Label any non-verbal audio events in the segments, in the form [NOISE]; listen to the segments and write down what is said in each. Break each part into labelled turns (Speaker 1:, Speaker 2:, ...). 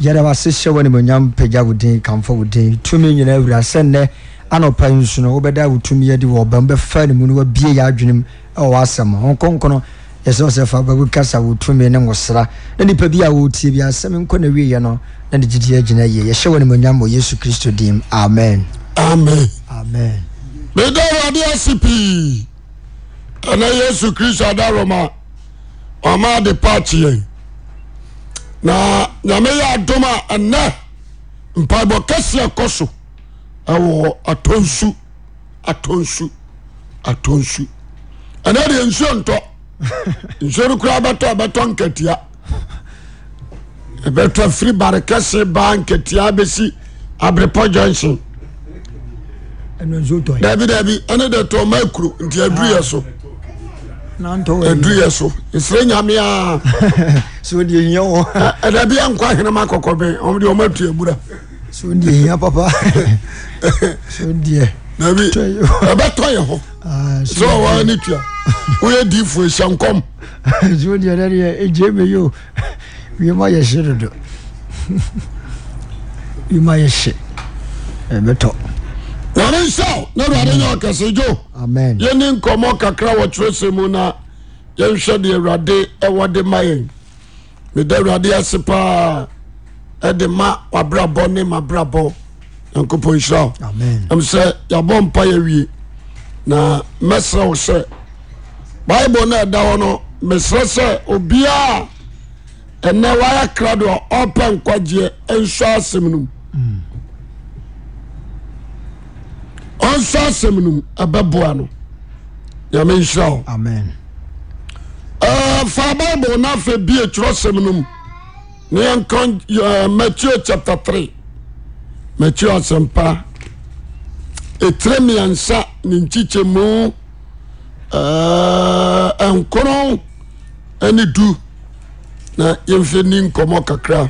Speaker 1: yɛde wase hyɛ wɔ animonyam pagya wo din kamfa wo din tumi nyinaa awura sɛ nnɛ anɔpa yi nso no wobɛda wo tumi adi wɔ ɔbam bɛfa no mu no wabie yɛ adwenem ɛwɔ w'asɛm ho nkronkrono yɛsɛ wo sɛ fa babu kasa wo tumi ne nwosra na nnipa bi a wɔtie bi asɛm nkɔ na wieɛ no na ne gyidi agyina yie yɛhyɛ wɔ animonyam wɔ yesu kristo dim amen
Speaker 2: amen
Speaker 1: amen
Speaker 2: meda awurade ase pii ɛna yesu kristo adaroma ɔma de paakye yɛn na nyame yɛ adom a ɛnɛ mpaebɔ kɛseɛ kɔ so ɛwɔ atɔnsu atɔnsu atɔnsu ɛnɛ deɛ nsuo ntɔ nsuo no koraa bɛtɔ bɛtɔ nkatia ɛbɛtɔ firi bare kɛse baa nkatia bɛsi abrepɔ junction
Speaker 1: ɛno nso tɔ
Speaker 2: daabi daabi ɛne de tɔ ma akuro nti aduruyɛ so
Speaker 1: nantɔ
Speaker 2: aduruyɛ so ɛsrɛ nyame a
Speaker 1: sɛ wode hia wɔ
Speaker 2: ɛdaabi ɛnkɔ ahenema kɔkɔbɛn ɔmde ɔma tu abura
Speaker 1: sɛ wode hia papa sɛ wodeɛ
Speaker 2: daabi
Speaker 1: Tɔ yɛ
Speaker 2: ɛbɛtɔ yɛ hɔ
Speaker 1: ah,
Speaker 2: sɛ
Speaker 1: sɛ
Speaker 2: ɔwaa ne tua woyɛ diifo hyɛ nkɔm
Speaker 1: [LAUGHS] sɛ wodeɛ na deɛ ɛgye me yi o wiema yɛ hye dodo wiema yɛ hye ɛbɛtɔ
Speaker 2: nyame nhyɛw na awurade nyɛ ɔkɛse dwo
Speaker 1: amen
Speaker 2: yɛne nkɔmmɔ kakra wɔ kyerɛsɛ mu na yɛnhwɛ deɛ awurade ɛwɔ de ma yɛn meda awurade ase paa ɛde ma wabrabɔ ne mabrabɔ nyankopɔn nhyira wo
Speaker 1: amen
Speaker 2: ɛm sɛ yɛabɔ mpa yɛwie na mɛsrɛ wo sɛ bible no ɛda hɔ no mesrɛ sɛ obiaa ɛnɛ wayɛ krado a ɔpɛ nkwagyeɛ ɛnsɔ asɛm no mu ɔnsɔ asɛm no mu ɛbɛboa no nyame nhyira wo
Speaker 1: amen
Speaker 2: Ɛɛ, fa Euh, bible no afei bie twerɛsɛm no mu ne yɛnka ɛɛ, matthew chapter 3 matthew asɛmpa ɛtire mmiɛnsa ne nkyikye mu ɛɛ, ɛnkoron ne du na yɛmfɛ ni nkɔmmɔ kakra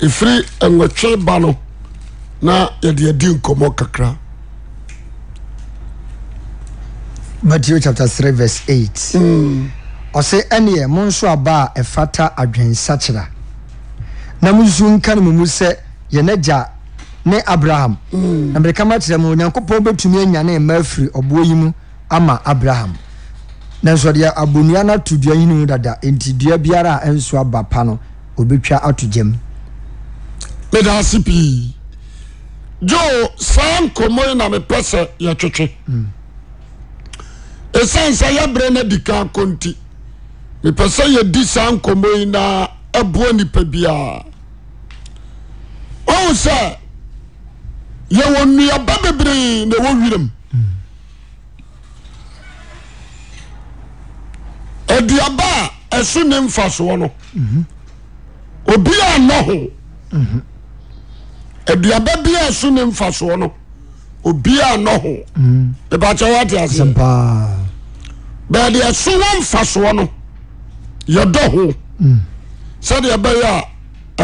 Speaker 2: ɛfiri ɛnwɔtwe ba no na yɛde adi nkɔmmɔ kakra
Speaker 1: matthew chapter 3 verse 8
Speaker 2: Hmm.
Speaker 1: ɔse ɛneɛ mo nso aba a ɛfata adwensakyera na monsu nka no mu mu sɛ yɛn agya ne abraham na mereka ma kyerɛ mu onyankopɔn bɛtumi anya ne mma afiri ɔboɔ yi mu ama abraham nanso ɔde abonnua no ato dua yini mu dada enti dua biara a ɛnso aba pa no obɛtwa ato gyam
Speaker 2: meda ase pii jo saa nkɔmmɔ yi na mepɛ sɛ yɛtwetwe ɛsiane sɛ yɛberɛ no adi ka kɔ nti mepɛ sɛ yɛdi saa nkɔmmɔ yi na ɛboa nnipa biara ɔhu sɛ yɛwɔ nnuaba bebree na ɛwɔ wiram aduaba a ɛso ne mfasoɔ no obiaa nnɔ ho aduaba bia a ɛso ne mfasoɔ no obiaa nnɔ ho ɛbakyɛ woate aseɛ
Speaker 1: paa
Speaker 2: bɛɛde ɛso wɔ mfasoɔ no yɛdɔ ho sɛdeɛ ɛbɛyɛ a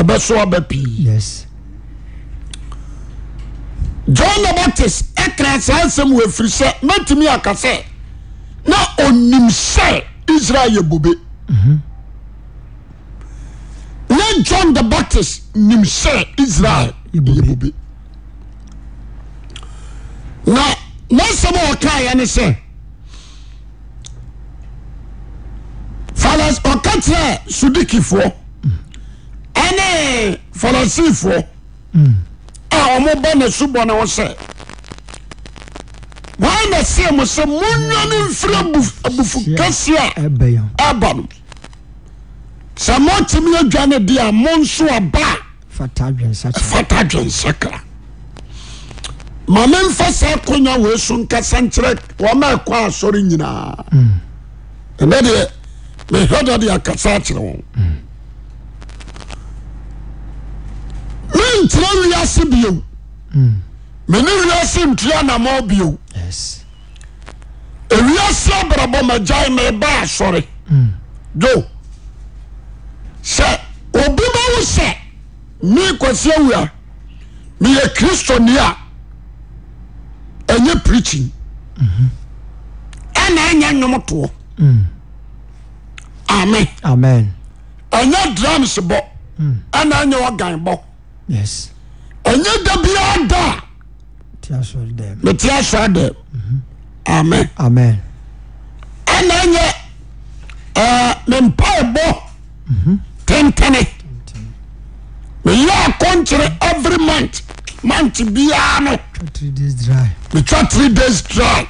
Speaker 2: ɛbɛso aba pii
Speaker 1: yes
Speaker 2: john the baptist ɛkra saa nsɛm wɔ afiri sɛ mɛtumi aka sɛ na onim sɛ israel yɛ bobe na john the baptist nim sɛ israel
Speaker 1: Yɛ
Speaker 2: yɛ
Speaker 1: bobe.
Speaker 2: bobe na n'asɛm a ɔkaeɛ ne sɛ falas ɔka kyerɛ sudikifoɔ ɛne farisifoɔ a ɔmobɔ ne subɔ ne ho sɛ wɔn na seɛ mo sɛ monwa no mfiri abu- abufu kɛseɛ a
Speaker 1: ɛbɛ yɛn
Speaker 2: ɛba no sɛ motumi adwa ne deɛ a mo nso aba a
Speaker 1: fata adwensakyera
Speaker 2: fata dwensakra ma memfa saa konya wei so nkasa nkyerɛ wɔma ɛkɔ asɔre nyinaa ɛnɛ deɛ mehwɛ da de akasa akyerɛ wɔn menkyerɛ wiase bio mene wiase ntua namɔ bio
Speaker 1: yes
Speaker 2: ewiase abrabɔ magyae na ɛba asɔre jo sɛ obi ma wo sɛ me kwasi awura meyɛ kristoni a ɛnyɛ preaching ɛna ɛnyɛ nnwomtoɔ ame
Speaker 1: amen
Speaker 2: ɛnyɛ drums bɔ ɛna ɛnyɛ ɔgan bɔ
Speaker 1: yes
Speaker 2: ɛnyɛ da biara da a
Speaker 1: ti asɔre dɛm
Speaker 2: mete asɔre dɛ amen
Speaker 1: amen
Speaker 2: ɛna ɛnyɛ ɛɛ ne mpaebɔ tentene meyɛ akɔnkyere every month month biara no
Speaker 1: twa three days dry
Speaker 2: metwa three days dry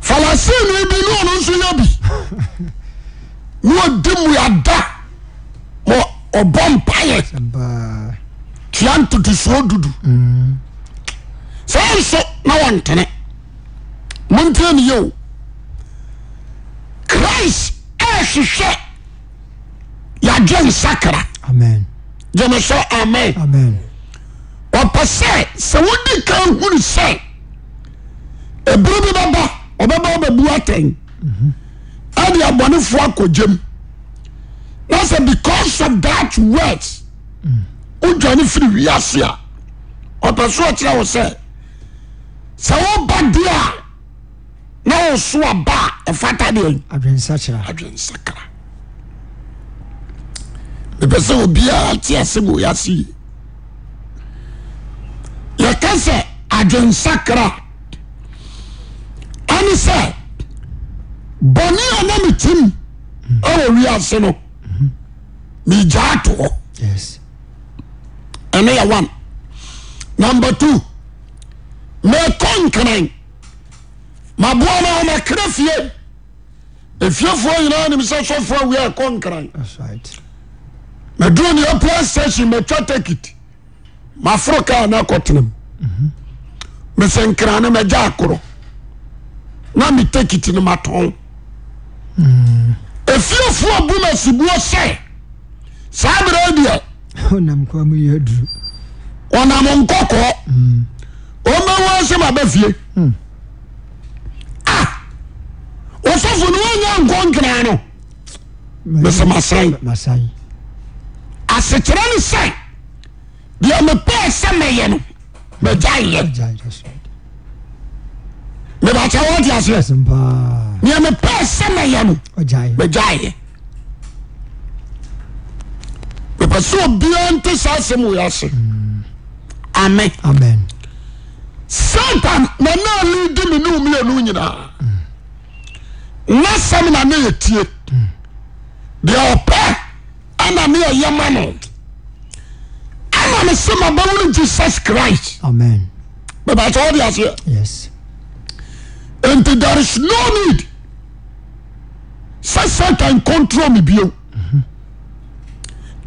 Speaker 2: falasini bi ne ɔno nso yɛ bi ne ɔdi mmuada ma ɔbɔ mpayɛ
Speaker 1: ɛbaa
Speaker 2: tua ntotosoɔ dudu saa nso na wɔntene montie ne yɛo christ ɛɛhwehwɛ yɛadwe nsakra
Speaker 1: amen
Speaker 2: gyeme sɛ amen
Speaker 1: amen
Speaker 2: ɔpɛ sɛ sɛ wodi ka hunu sɛ ebire bi bɛba ɔbɛba ɔbɛbu atɛn ɛde abɔnefoɔ akɔgyem na sɛ because of that words wodwane firi wiase a ɔpɛ so ɔkyerɛ wo sɛ sɛ woba deɛ a na wo so aba a ɛfata deɛ
Speaker 1: adwensakyera
Speaker 2: adwensakra mepɛ sɛ obiara te ase ma yɛase yi yɛka sɛ adwensakra ane sɛ bɔne a na metim ɛwɔ wiase no megyaa toɔ
Speaker 1: yes
Speaker 2: ɛno yɛ one number two mɛkɔ nkran maboa no ɔmakra fie efiefoɔ nyinaa nim sɛ sɔfoɔ awia ɛkɔ nkran
Speaker 1: that's right [LAUGHS]
Speaker 2: maduro ne apua station matwa takit maforo kaa na akɔtenam mesɛ nkra no magya akorɔ na me takit no matɔn efiefoɔ bu ma sibuo sɛ saa berɛ yi deɛ
Speaker 1: onam kwa mu yɛ aduru
Speaker 2: ɔnam nkɔkɔɔ ɔmɛwɔ sɛ ma bɛ fie a ɔsɔfo no wanya nkɔ nkra no mesɛ masan
Speaker 1: masan
Speaker 2: asekyerɛ ne sɛ deɛ mepɛɛ sɛ meyɛ no magyayɛ
Speaker 1: agya that's right
Speaker 2: mebakyɛ wɔte aseɛ
Speaker 1: ɛsɛm paa
Speaker 2: deɛ mepɛɛ sɛ meyɛ no
Speaker 1: ɔgyae
Speaker 2: magyayɛ mepɛ sɛ obiaa nte saa asɛm wei ase ame
Speaker 1: amen
Speaker 2: satan na na ne di me ne omienu nyinaa na sɛm na ne yɛtie deɛ ɔpɛ ana ne ɛyɛ ma no ama me se mabɛwo no jesus christ
Speaker 1: amen
Speaker 2: bɛbɛkyɛ wode aseɛ
Speaker 1: yes
Speaker 2: nti there is no need sɛ satan control me bio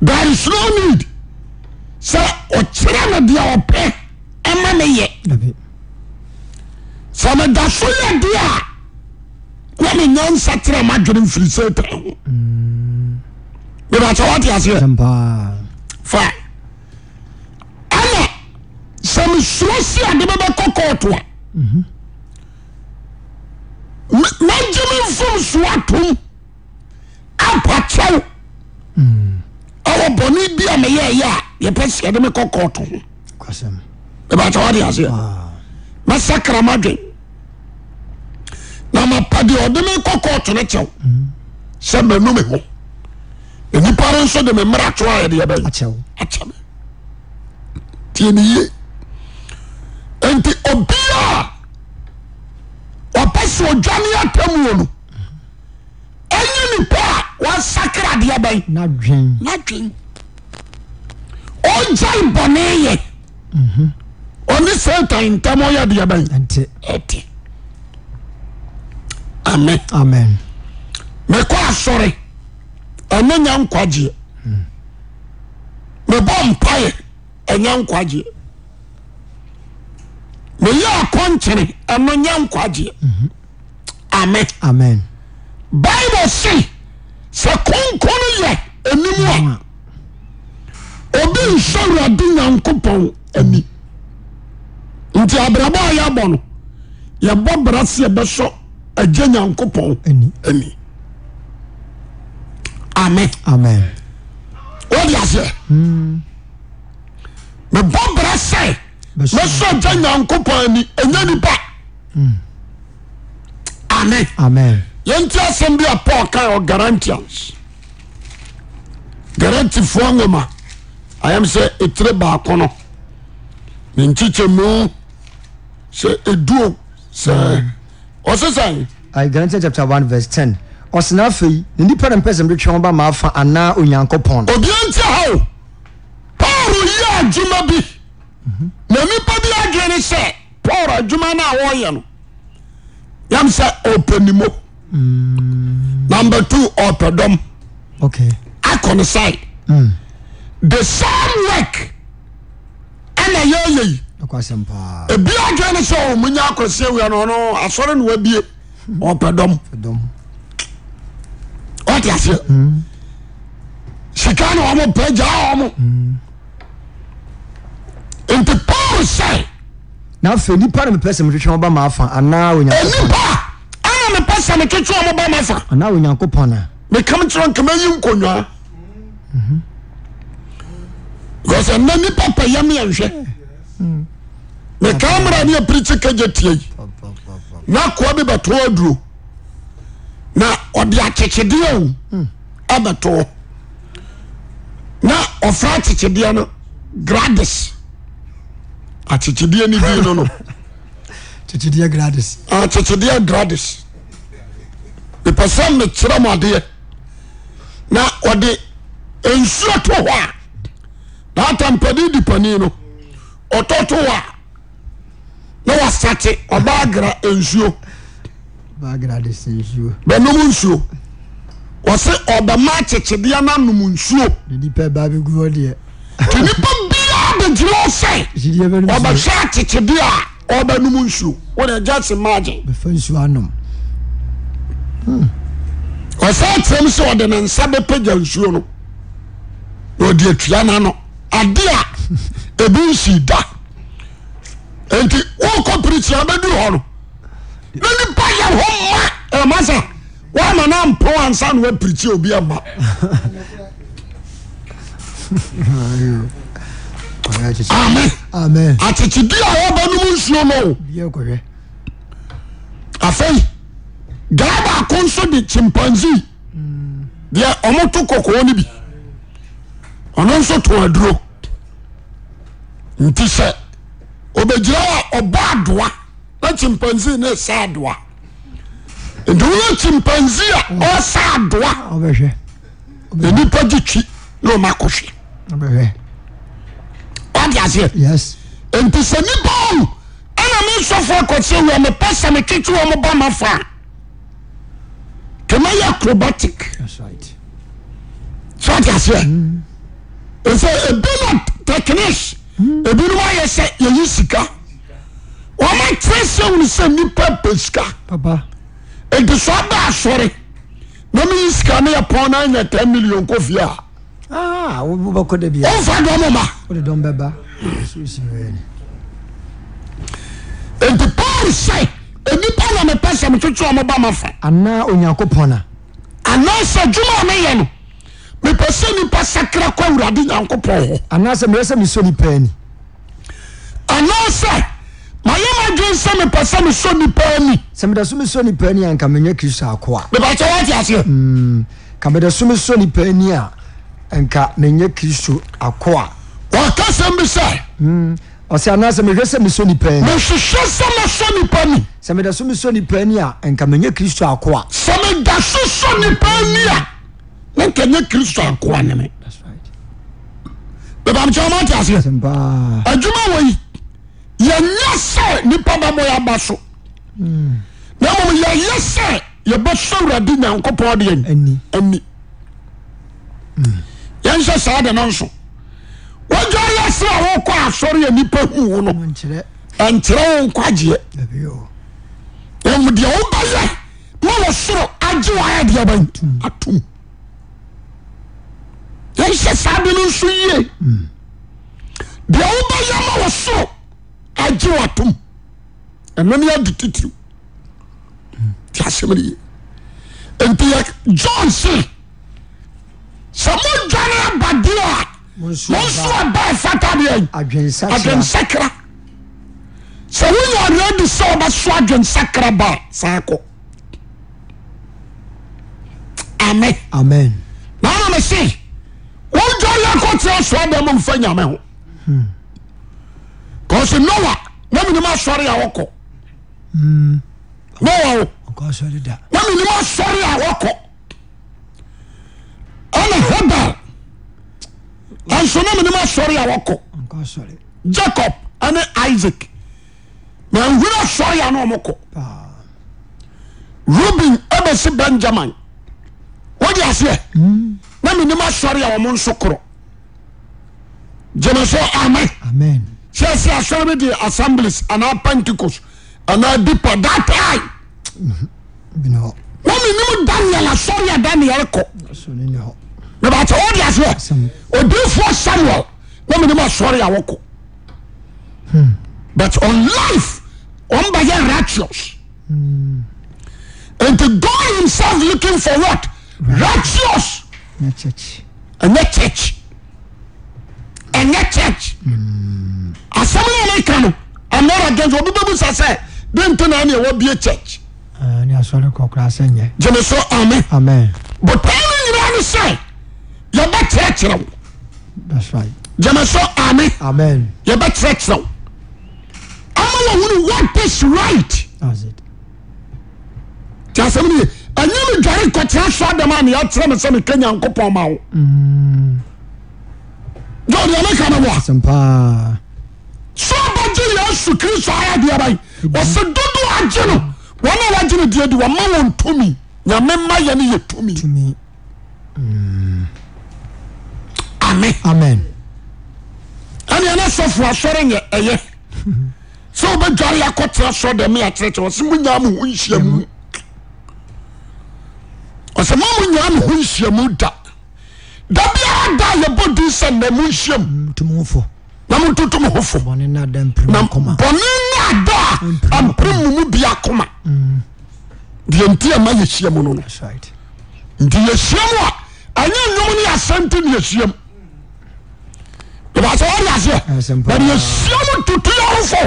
Speaker 2: there is no need sɛ ɔkyerɛ no deɛ ɔpɛ ɛma me yɛ
Speaker 1: dabi
Speaker 2: sɛ meda so yɛ deɛ a na menya nsakyerɛ madwene mfiri satan ho mebakyɛ wote aseɛ
Speaker 1: ɛsɛm paa
Speaker 2: fa ɛna sɛ mesuro si ade bɛbɛkɔ kɔɔto a me- magye me mfom soa tom apakyɛw ɛwɔ bɔne bi a meyɛɛyɛ a yɛpɛ sɛ yɛde me kɔ kɔɔto ho
Speaker 1: kwasɛm
Speaker 2: ɛbɛkyɛ wode aseɛ masakra madwen na mapa deɛ ɔde me kɔkɔɔ to ne kyɛw sɛ manu me ho na nipa no nso de me mmara to a yɛde yɛbɛyɛ
Speaker 1: akyɛw
Speaker 2: akyɛ me tie ne yie enti obia a ɔpɛ sɛ ɔdwane atamuo no ɛnyɛ nipa a wɔasakra adeɛ bɛn
Speaker 1: na dwen
Speaker 2: n'adwene ɔgyae bɔne yɛ ɔne satan ntam ɔyɛ deɛ bɛn
Speaker 1: ɛnte
Speaker 2: ɛte amen
Speaker 1: amen
Speaker 2: mekɔ asɔre ɛne nya nkwagyeɛ mebɔ mpaeɛ ɛnya nkwagyeɛ meyɛ akɔnkyere ɛno nya nkwagyeɛ amen
Speaker 1: amen
Speaker 2: bible se sɛ kronkron yɛ
Speaker 1: Mm-hmm.
Speaker 2: anim a obi nsɛ awurade nyankopɔn ani nti abrabɔ a yɛabɔ no yɛbɔ bra se yɛbɛsɔ agye nyankopɔn
Speaker 1: ani
Speaker 2: ani amen
Speaker 1: amen
Speaker 2: wode aseɛ mebɔ bra sɛ
Speaker 1: bɛsɛ
Speaker 2: mɛsɔ agye nyankopɔn ani ɛnya nipa amen
Speaker 1: amen
Speaker 2: yɛnti asɛm bi a paul kae ɔ garantians garantifoɔ nwoma ayam sɛ ɛtire baako no ne nkyikyɛmu sɛ ɛduo sɛ ɔse sɛn
Speaker 1: galatians chapter one verse ten ɔsena afei ne nipa na mpɛsɛm de twɛn ba ma afa anaa onyankopɔn no
Speaker 2: obia nti ha o paul yɛ adwuma bi na nnipa bi adwene ne sɛ paul adwuma no a wɔyɛ no yam sɛ ɔpɛ nimo number two ɔpɛ dɔm
Speaker 1: okay
Speaker 2: akɔ ne side the same work ɛna yɛyɛ yi
Speaker 1: ɛkɔ asɛm paa
Speaker 2: ebi adwene ne sɛ "Oh, ɔ munya akɔsi awia no ɔno asɔre ne wabie ɔpɛ dɔm
Speaker 1: ɛdɔm
Speaker 2: ɔte aseɛ sika ne ɔmo pɛ gyaa ɔmo nti paul sɛ
Speaker 1: na afei nipa na mpɛsɛm de twɛn ba ma afa anaa onyankopɔn
Speaker 2: enipa a ɛna mepɛ sɛ meketewa ɔmo ba ma fa
Speaker 1: anaa onyankopɔn na
Speaker 2: mekam kyerɛ nkama yi nkonnwa because ɛnɛ nipa pɛ yɛ meɛnhwɛ mekaa mmara ne apirikyi kagye tie yi na koa bi bɛtoɔ aduro na ɔde akyekyedeɛ o abɛtoɔ na ɔfra akyekyedeɛ no gradis akyekyedeɛ ne dii no no
Speaker 1: titidiɛ gradis
Speaker 2: akyekyedeɛ gradis mepɛ sɛ mekyerɛ mo adeɛ na ɔde nsuo to hɔ a daatampade di pani no ɔtɔ to hɔ a na wasate ɔbaa gra nsuo
Speaker 1: ba gradis nsuo
Speaker 2: bɛnom nsuo ɔse ɔbɛma akyekyedeɛ no anom nsuo
Speaker 1: ne nipa ba bi gu hɔ deɛ
Speaker 2: nti nipa biara bɛgyina hɔ sɛ
Speaker 1: titidiɛ bɛ no nsuo
Speaker 2: ɔbɛhwɛ akyekyedeɛ a ɔbɛnom nsuo wode agya se margin
Speaker 1: bɛfa nsuo anom
Speaker 2: ɔsan kyerɛm sɛ ɔde ne nsa bɛpagya nsuo no na ɔde atua n'ano ade a ebi nsi da nti wɔkɔ pirikyia bɛduru hɔ no na nipa yɛ hɔ ma ɛma sɛ woama no ampɔ ansa na woapirikyia obi ama
Speaker 1: Ɔyɛ akyekyere.
Speaker 2: ame
Speaker 1: amen
Speaker 2: akyekyedi a wɔbanom nsuo no o
Speaker 1: biɛ kɔhwɛ
Speaker 2: afei gaa baako nso de chimpanzee deɛ ɔmo to kɔkɔɔ no bi ɔno nso to aduro nti sɛ obɛgyina a ɔbɔ adoa na chimpanzee ne ɛsɛ adoa nti woyɛ chimpanzee a ɔsɛ adoa
Speaker 1: ɔbɛhwɛ
Speaker 2: na nipa gye twi na ɔma akɔhwe
Speaker 1: ɔbɛhwɛ
Speaker 2: wade aseɛ
Speaker 1: yes
Speaker 2: nti sɛ nipa o ɛna me nsɔfo akɔsɛ wia mepɛ sɛ metwetwe wɔ mo ba ma fa a kama yɛ acrobatic
Speaker 1: that's right
Speaker 2: sọọti aseɛ ɛsɛ ebi na techniques ebinom ayɛ sɛ yɛyi sika wɔn akyerɛ sɛ wɔn sɛ nipa pɛ sika
Speaker 1: papa
Speaker 2: edi so aba asɔre na mi yi sika ne yɛ pɔn na nya ten million ko fie a
Speaker 1: ah wo wo bɛkɔ da bia
Speaker 2: ɔnfa dɔm ma
Speaker 1: wo de dɔm bɛba susi wɛɛ ni
Speaker 2: edi paul sɛ enipa na mepɛ sɛ metwetwe wɔn ba ma fa
Speaker 1: anaa onyankopɔn na
Speaker 2: anaasɛ adwuma a meyɛ no mepɛ sɛ nipa sakra kɔ awurade nyankopɔn hɔ
Speaker 1: anaasɛ mmerɛ sɛ mesɔ nipa ani
Speaker 2: anaasɛ mayɛ madwen sɛ mepɛ sɛ mesɔ nipa ani
Speaker 1: sɛ meda so mesɔ nipa ani a nka menyɛ kristo ako a
Speaker 2: mepakyɛ woate aseɛ
Speaker 1: ka meda so mesɔ nipa ani a nka menyɛ kristo ako a
Speaker 2: wakasɛm bi sɛ
Speaker 1: ɔsɛ anaasɛ mehwɛ sɛ mesɔ nipa ani
Speaker 2: mehwehwɛ sɛ mesɔ nnipa ni
Speaker 1: sɛ meda so mesɔ nipa ani a nka menyɛ kristo ako a
Speaker 2: sɛ meda so sɔ nnipa ni a ne nkɛnyɛ kristo akoa ne me bɛbamkyɛ ɔmate aseɛ
Speaker 1: sɛm paa
Speaker 2: adwuma wɔ yi yɛnyɛ sɛ nnipa bɛbɔ yɛaba so Hmm. na mmom yɛyɛ sɛ yɛbɛsɔ awurade nyankopɔn deɛ
Speaker 1: ani
Speaker 2: ani yɛnhyɛ saa de no nso wodwa yɛ sɛ a wokɔ asɔre a nnipa hu wo no
Speaker 1: nkyerɛ
Speaker 2: ɛnkyerɛ wo nkwagyeɛ
Speaker 1: dabio
Speaker 2: ɛmu deɛ wobɛyɛ ma wɔ soro agye waayɛ deɛ bɛn atom yɛnhyɛ saa de no nso yie deɛ wobɛyɛ ma wɔ soro agye wɔ atom ɛno ne ade titiriw nti asɛm no yie nti yɛ E john se sɛ modwane abadeɛ a
Speaker 1: monso
Speaker 2: monso aba ɛfata deɛ
Speaker 1: adwensakyera
Speaker 2: adwensakra sɛ wonya ɔreadi sɛ wobɛso adwensakra ba a, saa kɔ ame
Speaker 1: amen
Speaker 2: na ama me se ntena asɔre dɛm mfa nyame ho kɔsi noa na menim asɔre a wɔkɔ noa o
Speaker 3: ɔkɔ asɔre da
Speaker 2: na menim asɔre a wɔkɔ ɛna hebal ɛnso na menim asɔre a wɔkɔ
Speaker 3: ɔkɔ asɔre
Speaker 2: jacob ɛne isaac manhunu asɔre a na ɔmokɔ
Speaker 3: paa
Speaker 2: ruben ɛbɛsi benjamin wode aseɛ
Speaker 1: Hmm.
Speaker 2: na menim asɔre a ɔmo nso korɔ gyeme so amen
Speaker 3: amen
Speaker 2: sɛ sɛ asɔre bi de assemblies anaa pentecost anaa dipa that time
Speaker 3: bi ne hɔ
Speaker 2: na menim daniel asɔre a daniel kɔ
Speaker 3: asɔre ne hɔ
Speaker 2: mebakyɛ wode aseɛ
Speaker 3: Asɛm.
Speaker 2: odifoɔ samuel na menim asɔre a wɔkɔ but on life ɔmbayɛ righteous enti god himself looking for what righteous
Speaker 3: na church
Speaker 2: ɛnyɛ church ɛnyɛ church asɛm no a meka no I'm not against obi bɛbu sa sɛ de nte na ɛne ɛwɔbie church
Speaker 3: Ah, ne asɔre kɔ koraa sɛ nyɛ
Speaker 2: gye me so amen
Speaker 3: amen
Speaker 2: but taa no nyinaa ne sɛ yɛbɛkyerɛkyerɛ wo
Speaker 3: that's right
Speaker 2: gye me so amen
Speaker 3: amen
Speaker 2: yɛbɛkyerɛkyerɛ wo ama wɔhunu what is right
Speaker 3: that's it
Speaker 2: nti asɛm no ye ɛnyɛ me dware nkɔkyerɛ so adam a ne yɛakyerɛ me sɛ meka nyankopɔn ma wo gye ɔdeɛ meka me boa
Speaker 3: asɛm paa
Speaker 2: sọ abagye yesu kristo ayadiaba yi wɔsɛ dodo agye no wɔn a wɔagye no deɛ di wɔn ma wɔn tumi nyame ma yɛ ne yɛ
Speaker 1: Mm.
Speaker 2: tumi
Speaker 3: tumi
Speaker 2: amen
Speaker 3: amen
Speaker 2: ɛne ɛne sɔfo asɔre nyɛ ɛyɛ sɛ wobɛdware akɔtera sɔ dɛm yɛakyerɛkyerɛ wɔsɛ monyaa mo ho nhyiamu ɔsɛ ma monyaa mo ho nhyiamu da da biara da a yɛbɔ din sɛ nnɛ mo nhyiam
Speaker 3: tumi wofo
Speaker 2: na montoto mo ho fo
Speaker 3: bɔne na da mpiri
Speaker 2: na
Speaker 3: mu kɔma
Speaker 2: bɔne ne adɔ a ampere mu mu bia koma deɛ nti ɛma yɛhyia mu no no
Speaker 3: that's right
Speaker 2: nti yɛhyia mu a ɛnyɛ nnwom ne yɛasɛm nti ne yɛhyia mu ɛbɛsɛ wɔde aseɛ
Speaker 3: Asɛm
Speaker 2: na
Speaker 3: pa.
Speaker 2: de yɛhyia mu toto yɛhofo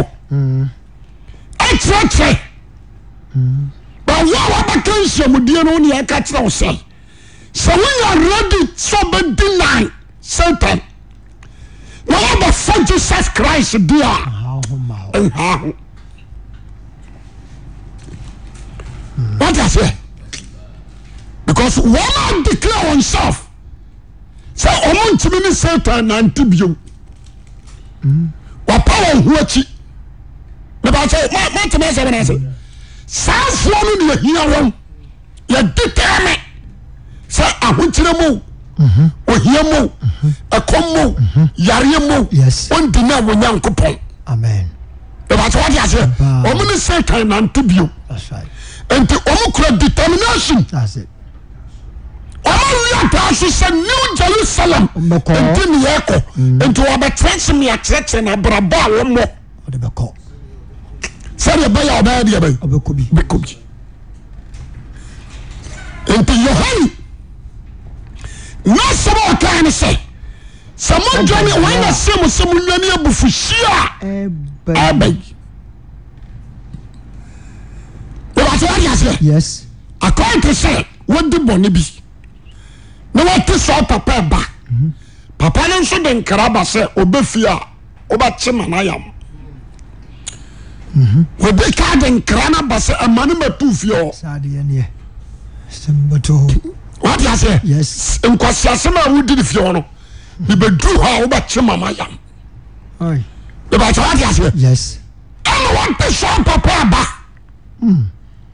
Speaker 2: ɛkyerɛkyerɛ bawo a wabɛka nhyiamudeɛ no wo ne yɛka kyerɛ wo sɛ sɛ woyɛ ready sɛ wobɛdi nan satan na wabɛfa jesus christ di a
Speaker 3: ahaw ho ma hɔ
Speaker 2: nha ho wata sɛ because wɔn a declare himself sɛ ɔmo ntumi ne satan nante bio wapa wɔn ho akyi nípa sɛ mo mo tẹmɛ sɛ wọn ase saa fúlọ no ni ehia wɔn yɛ determine sɛ ahokyere mu ohia mu ɛkɔm mu yareɛ mu
Speaker 3: Yes.
Speaker 2: wɔn di na wɔn nyanko pɔn
Speaker 3: amen
Speaker 2: ìbàtí wọ́n ti àṣẹ
Speaker 3: Paa.
Speaker 2: ọmọ ní sẹ́ẹ̀tàn náà ń tó bio
Speaker 3: that's right
Speaker 2: nti ọmọ kura determination
Speaker 3: that's it
Speaker 2: ọmọ wíwí àtà àṣìṣe new jerusalem
Speaker 3: Ɔmmɛkɔ.
Speaker 2: nti ni ẹ kọ nti wọ́n bẹ tẹ́sí mi àkyerẹ́kyerẹ́ náà àbúràbọ̀ àwọn mọ̀
Speaker 3: ɔde bɛkɔ
Speaker 2: sẹ́ni ẹ bẹ́yà ọbẹ̀ ẹ̀dí ẹ bẹ́yà
Speaker 3: ɔbɛkɔ bi
Speaker 2: bẹ́ kọ́ bi nti yohane náà sọ́bà ọ̀ká ẹni sẹ́ sàmú jọ́ni wọ́n yẹ sẹ́mu sẹ́mu nyọ́ni ebufuhyia ẹ
Speaker 3: ɛbɛn
Speaker 2: bẹ́yì ìbàtí wọ́n ti àṣẹ.
Speaker 3: yes
Speaker 2: akɔnte sɛ wodi bɔne bi na wate sɛ papa ɛba papa no nso de nkra ba sɛ obɛfie a wobɛkye ma no ayam wodi ka de nkra no ba sɛ ɛma no matu fie hɔ
Speaker 3: saa deɛ neɛ sɛm bɛto hɔ
Speaker 2: wate aseɛ
Speaker 3: yes
Speaker 2: nkwasiasɛm a wodi ne fie hɔ no debɛduru hɔ a wobɛkye ma no ayam
Speaker 3: oi
Speaker 2: debakyɛ wate aseɛ
Speaker 3: yes
Speaker 2: ɛna wate sɛ papa ɛba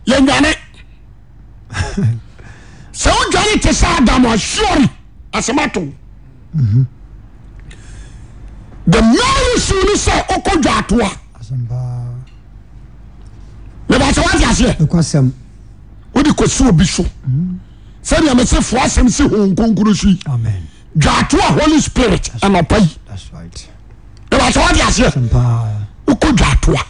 Speaker 2: yɛnyane sɛ wodwane te sɛ adam asure asɛm ato wo. the mary sue no sɛ wokɔdwa ato a
Speaker 3: asɛm paa
Speaker 2: mebakyɛ woate aseɛ
Speaker 3: ɛkɔ asɛm
Speaker 2: wode kɔsi obi so sɛdeɛ mese foa asɛm se honkonkuro so yi
Speaker 3: amen
Speaker 2: dwa ato a holy spirit anɔpa yi
Speaker 3: that's right
Speaker 2: mebakyɛ woate aseɛ
Speaker 3: asɛm paa
Speaker 2: wokɔdwa ato a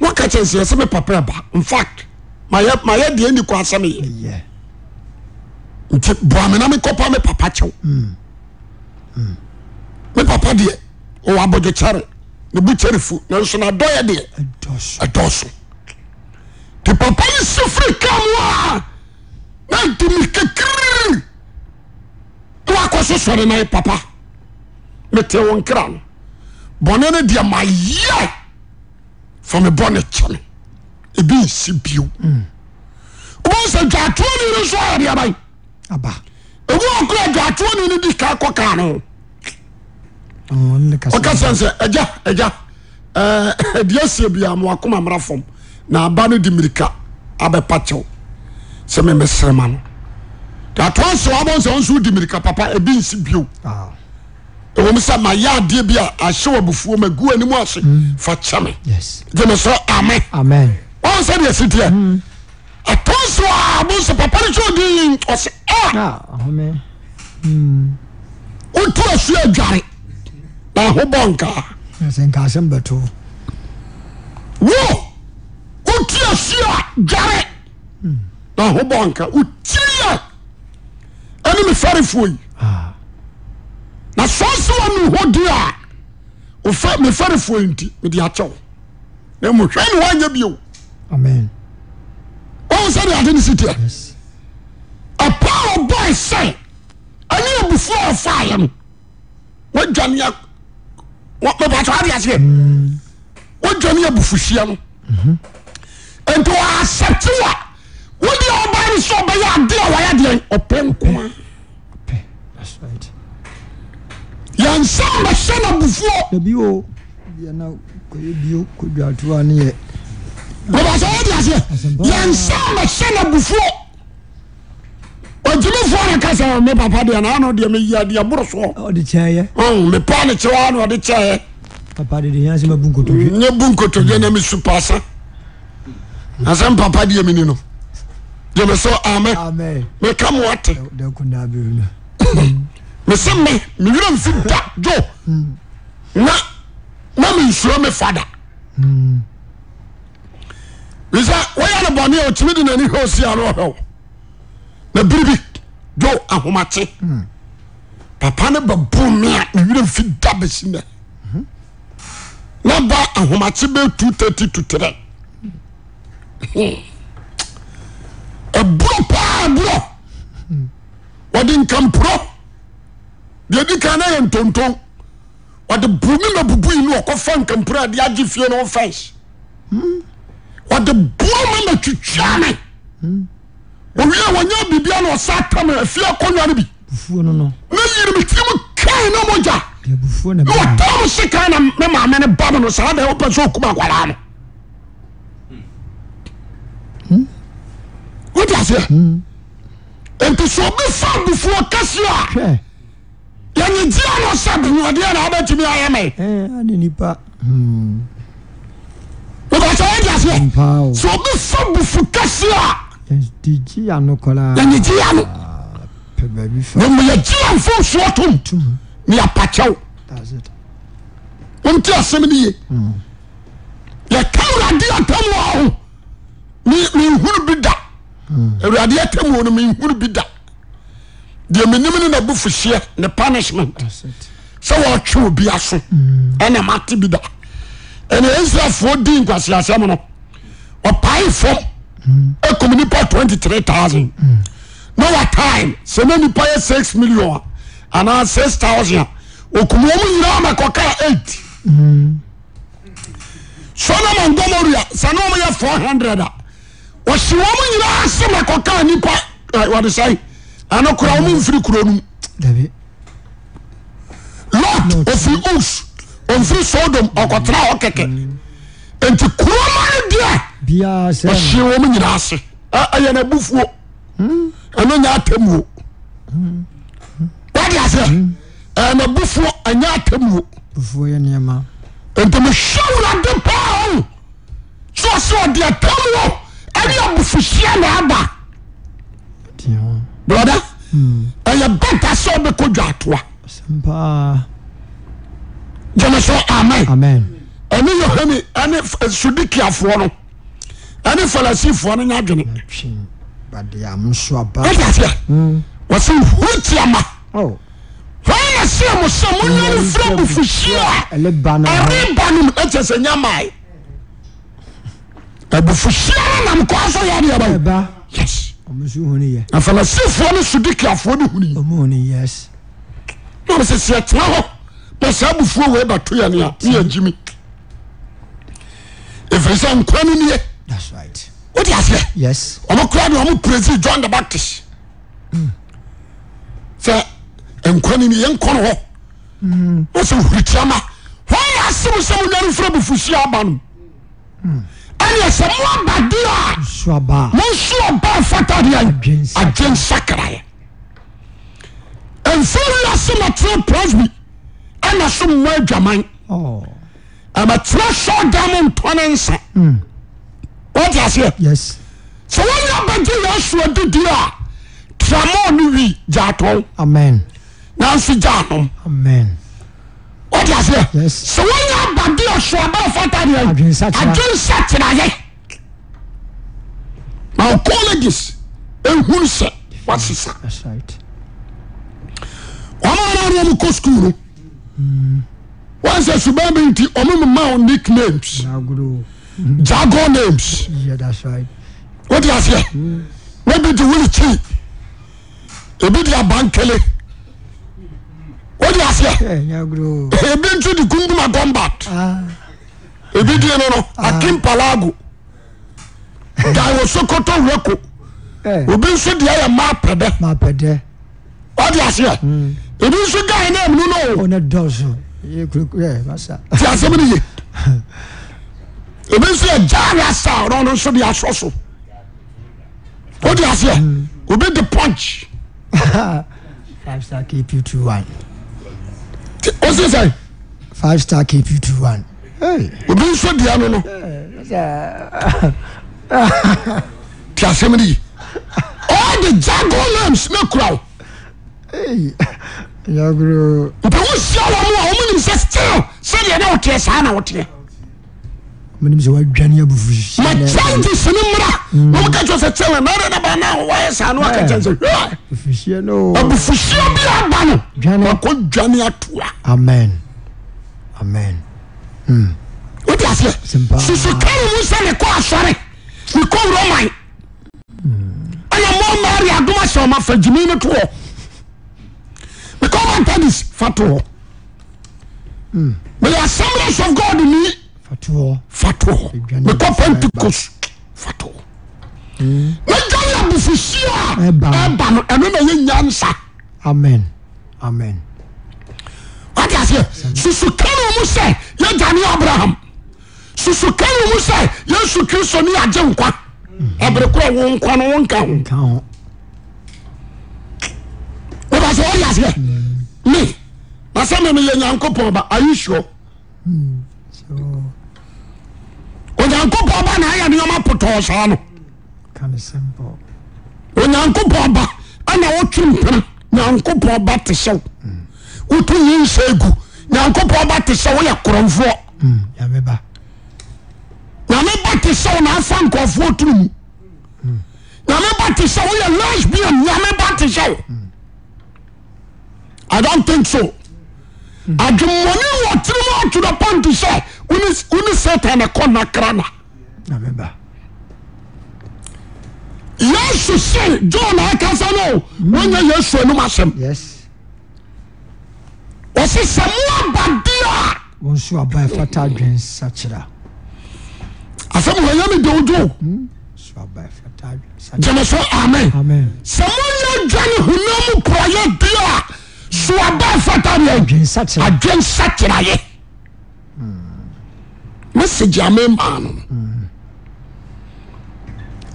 Speaker 2: na woka kyɛ nsiɛ sɛ me papa ba infact mayɛ mayɛ deɛ ni kɔ asɛm yɛ
Speaker 3: yɛ
Speaker 2: nti boame na mekɔpa me papa kyɛw me papa deɛ ɔwɔ abɔdwe kyɛre ne bu kyɛre fu nanso nadɔyɛ deɛ
Speaker 3: ɛdɔso
Speaker 2: ɛdɔɔso nti papa no si firi ka mu a na ntimi kekiri ne wakɔ so sɔre na ye papa mete wo nkra no bɔne no deɛ mayɛ fa me bɔne kyɛ me ebi nsi bio wobɛhu sɛ dwaatoani no so ayɛdeɛ bae
Speaker 3: aba
Speaker 2: ɛgu ɔkora dwaatoani no di ka kɔ kaa no ho
Speaker 3: ɔno ne kasa
Speaker 2: ɔka sɛn sɛ agya agya ɛɛ, [LAUGHS] deɛ asie bia mowakoma mmra fam na aba no de mmirika abɛpa kyɛw sɛ memɛsere ma no atoa sɛ wabɔ sɛ wo nso wodi mmirika papa ɛbi nsi bio
Speaker 3: Ah,
Speaker 2: ɛwɔ m sɛ mayɛ adeɛ bi a ahyɛ wɔ abufuo ma gu anim ase fa kyɛ me
Speaker 3: yes
Speaker 2: gye me sɛ ame
Speaker 3: amen
Speaker 2: ɔn sɛ deɛ siteɛ atoa so a bo sɛ papa no sɛ ɔdi ɔse a
Speaker 3: a ahome
Speaker 2: wotu asu adware na ho bɔ nkaa
Speaker 3: sɛ nka asɛm bɛto
Speaker 2: wo wotu asu a dware na ho bɔ nka wotiriɛ ɛne me farefoɔ yi
Speaker 3: Ah,
Speaker 2: na sɔɔ se wɔ ne hɔ di a wofa me farefoɔ yi nti mede akyɛw na mu hwɛ ne woanyɛ bio
Speaker 3: amen
Speaker 2: ɔn sɛ deɛ ade ne siteɛ
Speaker 3: yes
Speaker 2: ɛpa a ɔbɔe sɛ ɛne abufuo a ɔfaeɛ no woadwane mɛbatɔ ade aseɛ woadwane abufuhyia no enti wɔasɛte wa wode a ɔbae no sɛ ɔbɛyɛ ade a wayɛ deɛn ɔpɛ nko a
Speaker 3: pɛ that's right
Speaker 2: yɛnsa mbɛhyɛ no abufuo
Speaker 3: dabi o yɛna kɔyɛ bio kɔdwatoa ne yɛ
Speaker 2: mɛbatɔ ade aseɛ yɛnsa mbɛhyɛ no abufuo ɔgyimifoɔ no ka sɛ me papa deɛ na ana ɔdeɛ meyi adeɛ boro soɔ
Speaker 3: ɔde kyɛɛyɛ
Speaker 2: mepa ne kyerɛ a na ɔde kyɛɛ
Speaker 3: papa de de yɛ asɛm abu nkotodwe
Speaker 2: nye bu nkotodwe na mesu paasa asɛm papa deɛ meni no gyeme so ame
Speaker 1: Ah.
Speaker 3: amen
Speaker 2: meka moate
Speaker 3: da kunaa bɛru no
Speaker 2: mese me mewerɛ mfi da jo na na mensuro me fada bisa woyɛ no bɔne a ɔtumi de nani hwɛ osia no ɔhwɛw na biri bi jo ahomakye papa ne babu me a mewerɛ mfi da bɛsi nɛ na ba ahomakye bɛ 230 to 3 E aburo paa aburo wɔde nkamporo deɛ di kan na yɛ ntontom wɔde bumi ma bubu yi no wɔkɔfa nkamporo a de agye fie no ho fɛns wɔde buro ma ma twitwa me owie a wɔnya biribia na ɔsa atam afie akɔnnwa no bi
Speaker 3: bufuo no no
Speaker 2: na yiri me tiri mu kae na mogya
Speaker 3: deɛ bufuo na
Speaker 2: na
Speaker 3: bɛyɛ
Speaker 2: wɔtam se kan na me maame ne ba me no saa da wopɛ sɛ ɔkum akwaraa no wode aseɛ enti sɛ obi fa abufuo kɛseɛ a
Speaker 3: hwɛ
Speaker 2: yẹnni tí a lọ sábì ní ọdí ẹnna ọbẹ tìmí ayé mi.
Speaker 3: ɛɛ ane Eh, nipa
Speaker 2: nígbà tí wọ́n di aseɛ
Speaker 3: paa o
Speaker 2: sọ obi fọ bufu kẹsí a
Speaker 3: di gye ano kɔraa
Speaker 2: yẹnni tí a lọ
Speaker 3: pɛ baabi fa
Speaker 2: wọ́n mu yẹ jí à ń fọ sọ tó
Speaker 3: tum
Speaker 2: ní apàkyẹw
Speaker 3: that's it
Speaker 2: wọ́n ti asẹ́mi nìyẹ. yẹ ká awurade atamu ọ̀hún mi mi nhuru bi da awurade atamu ọ̀hún mi nhuru bi da deɛ mi nim ni na bufu hyɛ ne punishment.
Speaker 3: that's it
Speaker 2: sɛ wɔtwe obi aso ɛna mate bi da ɛna israelfoɔ di nkwaseasɛm no ɔpae fam ɛkum nipa 23000 na wɔtae sɛ na nipa yɛ 6 million a anaa 6000 a ɔkum wɔ mu nyinaa makɔkaa 8 sodom and gomoria sɛ ne ɔmyɛ 400 a wɔhye wɔ mu nyinaa se makɔkaa nipa eh, wɔde sɛe ɛno kora wɔ mu mfiri kuro no mu
Speaker 3: dabi
Speaker 2: lot ofiri us ofiri sodom ɔkɔtena hɔ kɛkɛ nti kuroma no deɛ
Speaker 3: biaa sɛ
Speaker 2: ɔhye wɔ mu nyinaa ase Ɛ- ɛyɛ no abufuo ɛno nyɛ atamuo wade aseɛ ɛyɛ no abufuo ɛnyɛ atamuo
Speaker 3: bufuo yɛ nneɛma
Speaker 2: nti mehwɛ wurade paa ho sɛ ɔsɛ ɔde atamuo ɛne abufuhyia na aba
Speaker 3: teɛ ho
Speaker 2: brɔda ɛyɛ bɛta sɛ wobɛkɔ dwaatoa
Speaker 3: asɛm paa
Speaker 2: gyeme so amen
Speaker 3: amen
Speaker 2: ɛne yohane ɛne F- sodikiafoɔ no ɛne farisifoɔ no nyɛ adwene
Speaker 3: atwe badeɛ am so aba
Speaker 2: ɛde aseɛ wɔsɛ huru tiama
Speaker 3: o
Speaker 2: wɔn na se mo sɛ monyɛ no fira bufuhyia
Speaker 3: ɛle ba
Speaker 2: a
Speaker 3: no
Speaker 2: ɛreba no mu ɛkyɛ sɛ nya mae abufuhyia no nam kɔa so yɛ deɛ ba
Speaker 3: ɛba
Speaker 2: yes
Speaker 3: ɔmo so hu no yɛ
Speaker 2: na farisifoɔ ne sodikiafoɔ no huni
Speaker 3: ɔmo hu no yes
Speaker 2: na wɔsɛ sɛ yɛtena hɔ na saa abufuo wei bɛto yɛ ne a ne yɛgyi mi ɛfiri sɛ nkwa no nie
Speaker 1: that's right
Speaker 2: wode aseɛ
Speaker 1: yes
Speaker 2: ɔmo kora ne ɔmo presi john the baptist sɛ nkwa no nie yɛnkɔ no hɔ na sɛ hurikyerama hɔ yɛ ase mo sɛ monya no mfra bufuhyia aba no ɛneɛ sɛ moaba de a
Speaker 1: so aba a
Speaker 2: monso ɔba fata de
Speaker 1: Adwensakra.
Speaker 2: agye nsakraeɛ mfiri no ase matena prosby ɛna so mmɔ adwaman
Speaker 1: oh
Speaker 2: amatena sɛ da mo ntɔ ne nsa wote aseɛ
Speaker 1: yes
Speaker 2: sɛ woyɛ abagye yɛasoa didi a tramɔ no wi gyaatɔn
Speaker 1: amen
Speaker 2: nanso gyaanom
Speaker 1: amen
Speaker 2: wote aseɛ
Speaker 1: Yes.
Speaker 2: sɛ woyɛ abade asoaba fata deɛ
Speaker 1: Adwensakyera.
Speaker 2: adwe nsakyerayɛ na colleges ɛhunu sɛ wasesa
Speaker 1: that's right
Speaker 2: ɔma ɔma ne ɔmo kɔ sukuu no wɔn sɛ suban bi nti ɔmo mma wɔn nicknames
Speaker 1: agro
Speaker 2: jargon names
Speaker 1: yeah that's right
Speaker 2: wọ́n ti aseɛ wọ́n bi di wuli kyi ebi di abankele wọ́n ti aseɛ
Speaker 1: yeah agro
Speaker 2: ebi nso di kunduma gombat
Speaker 1: ah
Speaker 2: ebi di yẹn no akimpalago dawo sokoto weko
Speaker 1: eh
Speaker 2: obi nso di ayɛ maa pɛdɛ
Speaker 1: ma pede
Speaker 2: wọ́n ti aseɛ ebi nso gaa yẹn náà mu nínú o
Speaker 1: ona dozo ye kuru yeah masa
Speaker 2: ti asɛm ni yɛ ebi nso yɛ jaare asa a ɔno nso di asɔ so wọ́n ti aseɛ obi di punch
Speaker 1: five star kp21
Speaker 2: ti o sɛ sɛ
Speaker 1: five star kp21 hey
Speaker 2: obi nso di ano no. ti asɛm no yi all the jago lams na kura wo
Speaker 1: hey agro
Speaker 2: mpɛ wo sia wɔ mo a ɔmo nim sɛ still sɛdeɛ na woteɛ saa na woteɛ
Speaker 1: menim sɛ woadwane abufu
Speaker 2: ma
Speaker 1: hyehyɛ
Speaker 2: changes ne mmra na woka kyerɛ sɛ kyɛle na wode daba na woayɛ saa no waka kyɛn sɛ hwɛ
Speaker 1: abufuhyeɛ no
Speaker 2: abufuhyia bi aba no
Speaker 1: Dwane.
Speaker 2: wakɔ dwane atoa
Speaker 1: amen amen
Speaker 2: wode aseɛ
Speaker 1: Simpa.
Speaker 2: susukare mu sɛ ne kɔ asɔre ne kɔ wurɔman ɛna mɔ maare adoma sɛ ɔma fa gyimi no to hɔ mekɔ matadis fa to hɔ meyɛ assemblies of god ni
Speaker 1: fatoɔ
Speaker 2: fa to hɔ
Speaker 1: Aduane
Speaker 2: mekɔ
Speaker 1: abufuo
Speaker 2: pentecost fa to hɔ megyane abufuhyia a
Speaker 1: Ɛba no.
Speaker 2: ɛba no ɛno na yɛnya nsa
Speaker 1: amen amen
Speaker 2: wate aseɛ susukane mu sɛ yɛgyane abraham susukane mu sɛ yesu kristo ne yɛagye nkwa ɛbere korɔ wo nkwa no wo nka ho
Speaker 1: ka ho
Speaker 2: woba sɛ wɔde aseɛ me na sɛ me no yɛ nyankopɔn ba ayisuo
Speaker 1: so
Speaker 2: onyankopɔn ba na ayɛ nneɔma potɔɔ saa no
Speaker 1: kind of simple
Speaker 2: onyankopɔn ba ana wotwe mpena nyankopɔn ba te sɛ wo woto yi nsɛ gu nyankopɔn ba te sɛ woyɛ korɔmfoɔ
Speaker 1: Hmm. yameba
Speaker 2: nyame ba te sɛ wo naafa nkɔfoɔ toro mu nyame ba te sɛ woyɛ lesbian nyame ba te sɛ wo i don't think so adwemmɔne wɔ tiri mu ato the point sɛ wone- wone satan ɛkɔ nakra na
Speaker 1: yameba
Speaker 2: yesu se john aka sɛ no woanyɛ yesu anom asɛm
Speaker 1: yes
Speaker 2: ɔse sɛ moabade
Speaker 1: wɔn nso aba ɛfata adwensakyera
Speaker 2: a asɛm wɔyɛ me dewodwo
Speaker 1: so aba ɛfata adwensakyera
Speaker 2: gyeme so amen
Speaker 1: amen
Speaker 2: sɛ moyɛ dwane honam korɔyɛ di a soaba fata deɛ
Speaker 1: adwensakyera
Speaker 2: adwen sakyerayɛ message a memaa no no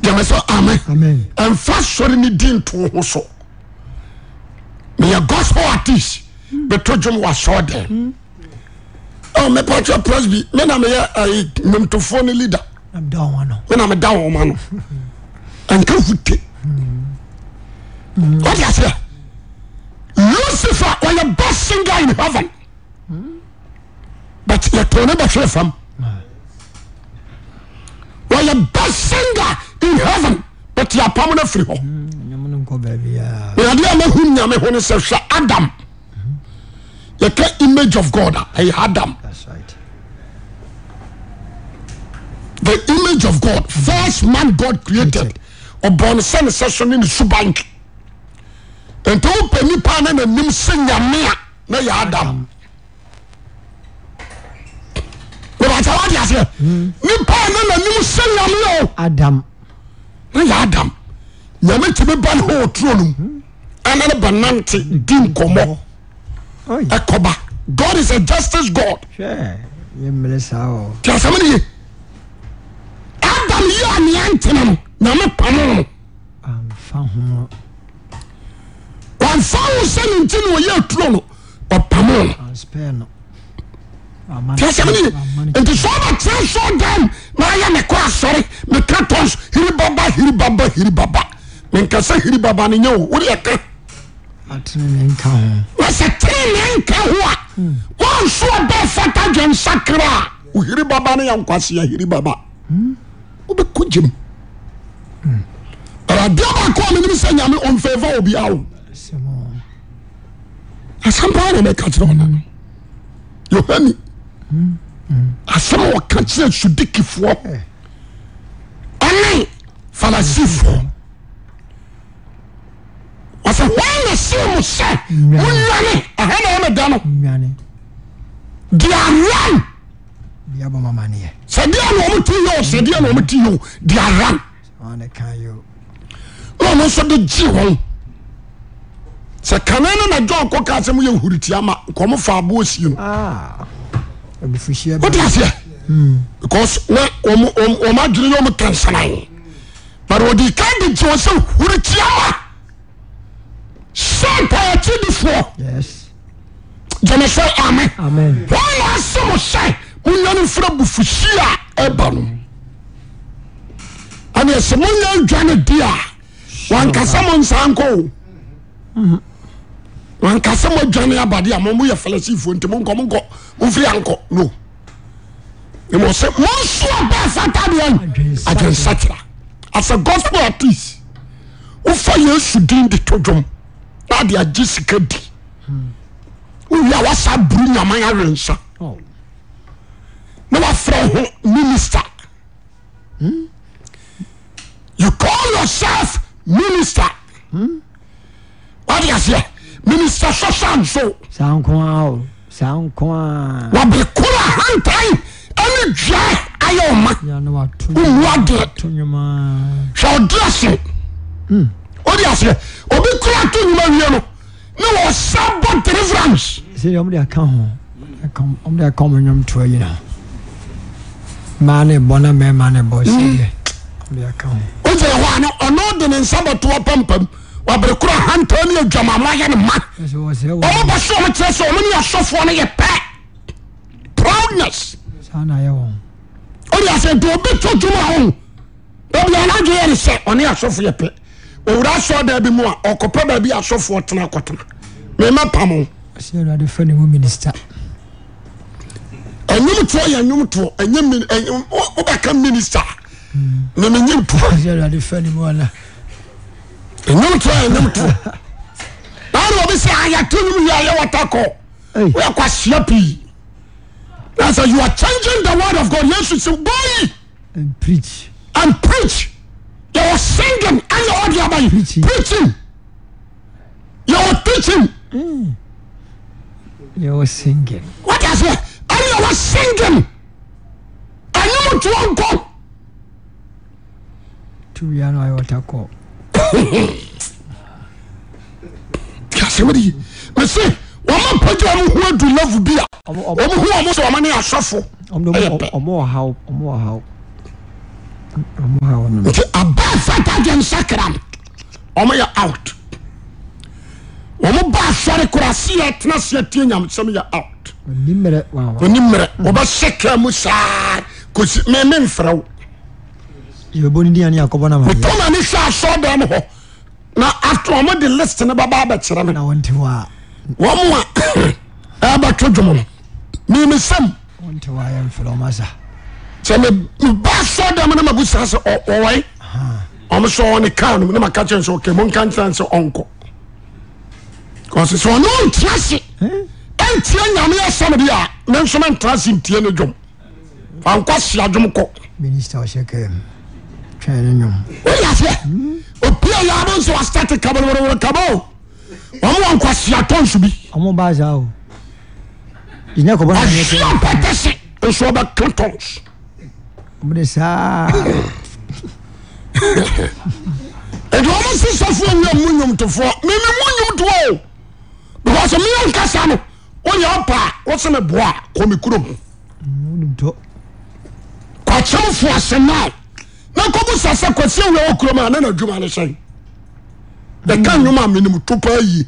Speaker 2: gyame sɛ ame
Speaker 1: amen
Speaker 2: ɛmfa sɔre ne din to wo ho so meyɛ gospel artist bɛto dwom wasɔɔ dɛn mepɛtwɛ presby mena meyɛ ɛyi, nnwomtofoɔ no leader
Speaker 1: I'm down one now.
Speaker 2: mena meda wo ma no ɛnka hute wode aseɛ lucifer ɔyɛ best singer in heaven but yɛtoo ne bɛhwere fam ɔyɛ best singer in heaven but yɛapam no afiri hɔ
Speaker 1: Nyɛm no nkɔ baabi a
Speaker 2: yàrá a mahu nyame ho ne sɛ hwɛ adam yɛka image of god a ɛyɛ adam
Speaker 1: that's right
Speaker 2: the image of god first man god created ɔbɔn sɛ ne sɛ so ne ne suban nti wopɛ nipa ne nanim sɛ nyame a na yɛ adam aseɛ nipa a na nanim sɛ nyame o
Speaker 1: adam
Speaker 2: na yɛ adam nyame tumi ba ne hɔ ɔturo no mu ɛna ne bɛnante di nkɔmmɔ
Speaker 1: oi
Speaker 2: ɛkɔba god is a justice god
Speaker 1: hwɛ yɛ mmerɛ saa wɔ
Speaker 2: nti asɛm ne ye adam yi a nea ntena no nyame pamo no
Speaker 1: amfa ho
Speaker 2: wamfa wo sɛ ne nti ne ɔyɛ aturo no ɔpamo no
Speaker 1: anspɛ no
Speaker 2: nti asɛm ne ye nti sɛ ɔbɛkyerɛ sɛ dam na ayɛ ne kɔ asɔre meka tons hiri baba hiri baba hiri baba menka sɛ hiri baba ne nyɛ o wode yɛka
Speaker 1: atene ne nka ho
Speaker 2: na sɛ tere ne nka ho a wɔnso ɔbɛ fata dwensakra a ohiri baba no yɛ nkwase ahiri baba wobɛkɔ gyem radeɛ baako a menim sɛ nyame ɔmfɛva obiaa wo
Speaker 1: asɛm a-
Speaker 2: asɛm paa na mɛka kyerɛ ɔna no yohane asɛm a wɔka kyerɛ sudikifoɔ ɔne farisifoɔ wɔsɛ wɔn na see mo sɛ monwane ɛhɛ na ɔmeda no
Speaker 1: nnuane
Speaker 2: deɛ aran
Speaker 1: bia bɔ mamaneɛ
Speaker 2: sɛ deɛ na ɔmo ti yɛ o sɛ deɛ na ɔmo ti yɛ o deɛ aran
Speaker 1: ɔne ka yɛ
Speaker 2: na ɔno nso de gye wɔn sɛ kane no na john kɔ kaa sɛ moyɛ huritia ma nkɔmo fa aboɔ sie no
Speaker 1: Ah. abufuhyia
Speaker 2: wote aseɛ because na ɔmo ɔmo- ɔmo adwene yɛ ɔmo kansanan but ɔde kan de gye wɔn sɛ huritia ma sɛ mpaakyidifoɔ
Speaker 1: yes
Speaker 2: gyeme sɛ ame
Speaker 1: amen
Speaker 2: wọn na asem sẹ munyanu fura bufusi a ɛba no ɛna ɛsɛ munyanu dwane di a wankasa mo nsanko o wankasa mo dwane abade a mo mo yɛ fɛlɛsifo nti mo nkɔ mo nkɔ mo firi ankɔ no ɛmɛ ɔsɛ mo nso ɔbɛ fata deɛ
Speaker 1: Adwensakra.
Speaker 2: adwensakira as a gospel artist wofa yesu din de to dwom na ade agye sika di wowie a wasa buru nyaman awensa
Speaker 1: Oh,
Speaker 2: na wafrɛ ho minister you call yourself minister wade aseɛ minister sɔsa nso
Speaker 1: saa nko a o saa nko a
Speaker 2: wabere koro ahantan ɛne dua ayɛ wo ma
Speaker 1: yɛne wato
Speaker 2: wowu adeɛ
Speaker 1: to nnwoma
Speaker 2: hwɛ ɔde ase wode aseɛ obi kora to nnwuma wie no na wɔsa bɔ deliverance
Speaker 1: sɛdeɛ ɔmde aka ho Ɛka- ɔmde aka ɔmo nnwom toa yi na maa ne bɔ na mɛma ne bɔ sɛdeɛ ɔmde aka ho
Speaker 2: wogye hɔ a no ɔno de ne nsa bɛtoɔ pampam wabere koro ahantan ne adwamamma yɛ ne ma
Speaker 1: ɛsɛ wɔ sɛ
Speaker 2: ɔmo
Speaker 1: wɔ
Speaker 2: bɛ so ɔmo kyerɛ sɛ ɔmo ne asɔfoɔ no yɛ pɛ proudness
Speaker 1: saa na yɛ wɔn
Speaker 2: ɔde asɛ nti obi to dwuma ho baabi a n'adwe yɛ ne sɛ ɔne asɔfoɔ yɛ pɛ owura asɔ da bi mu a ɔkɔpɛ baabi a asɔfoɔ tena akɔtena mɛma pam
Speaker 1: ɛsɛ awurade fa ne mu minista
Speaker 2: ɛnyim toɔ yɛ ɛnyim toɔ ɛnyim min ɛnyim wo- wobɛka minister na menyim toɔ
Speaker 1: ɛsɛ awurade fa ne mu ana
Speaker 2: ɛnyim toɔ ɛnyim toɔ naa na obi sɛ ayɛto nom yɛ ayɛ wata kɔ
Speaker 1: Ei.
Speaker 2: woyɛ kwahyia pii na sɛ you are changing the word of god yesu sɛ boyi
Speaker 1: And preach
Speaker 2: and preach. You were singing and you audio by
Speaker 1: Preaching.
Speaker 2: preaching. You were teaching.
Speaker 1: ne ɛwɔ singing
Speaker 2: What is it? And you were singing. And you were drunk. up.
Speaker 1: to wia no ayɛ wɔta kɔ
Speaker 2: Kasimiri, me say, wọ́n máa pẹ̀jọ́ ọmọ hu edu lẹ́fù bí a.
Speaker 1: Ọmọ- ọmọ-
Speaker 2: Ọmọ hu ọmọ sọ ọmọ ní asọ́fọ.
Speaker 1: ɔmde
Speaker 2: Ɛyɛ pɛ.
Speaker 1: ɔmɔ ɔhaw ɔmɔ ɔhaw ɔmɔ ɔhaw no
Speaker 2: Nti abá fata jẹ nsakira mu. Ọmọ yẹ out. Wọ́n bá asọ́rẹ́ kura sí ẹ̀ tẹ́ná sí ẹ̀ tiẹ̀ nyàmùsẹ́mi yẹ out.
Speaker 1: nimmerɛ wawa
Speaker 2: oni mmerɛ wɔbɛhyɛ kra mu saa kosi meme mfrɛ wo
Speaker 1: yɛbɛbɔ ne dia ne yakɔbɔ no amadeɛ
Speaker 2: toma ne hwɛ asɔɔdan mu hɔ na after ɔmo de list no bɛba abɛkyerɛ me
Speaker 1: na wɔnte hɔ a
Speaker 2: [CLEARS THROAT] wɔmo a ɛbɛtwo dwom no memesɛm
Speaker 1: wɔnte hɔ a yɛmfrɛ ɔma sa
Speaker 2: sɛ me- meba asɔɔdan mu no mabu saa sɛ ɔ- ɔwɔe ɔmo sɛ ɔwɔ ne kar no mu ne maka kyerɛ sɛ ɔka monka nkyerɛ n sɛ ɔnkɔ ɔse sɛ ɔne ɔntena se ɛntia nyame asɛm de a me nso mentena se ntie no dwom ankɔ se adwom kɔ
Speaker 1: minista ɔhyɛ kam twɛn no nwom
Speaker 2: wọ́n yà fẹ́ òpin ẹ̀yà abọ́ nsọ asitati kabawọ́rọ́wọ́rọ́ kabọ́ o wọ́n wọ́n kọ́ si atọ́ nsọ bi
Speaker 1: ɔmo baa saa o yɛnya kɔbɔ no
Speaker 2: ọ̀sùn
Speaker 1: nyɛ
Speaker 2: ọ̀pẹ̀tẹ̀sì nsọ ọba kẹtọ́ns
Speaker 3: ɔmde saa
Speaker 2: nti wɔn si sɔfo awia mu nyomtofoɔ mímu mu nyomtofoɔ o because mi yɛn kasa no wɔnyɛ ɔpa a wɔsɛn boa kɔmi kurom
Speaker 3: wonimtɔ
Speaker 2: kɔkyɛw fo asenaa na nkɔbu sase kɔsi awia wɔ kurom a ne na adwuma ne hyɛn yɛka nnwom a minimu to paa yie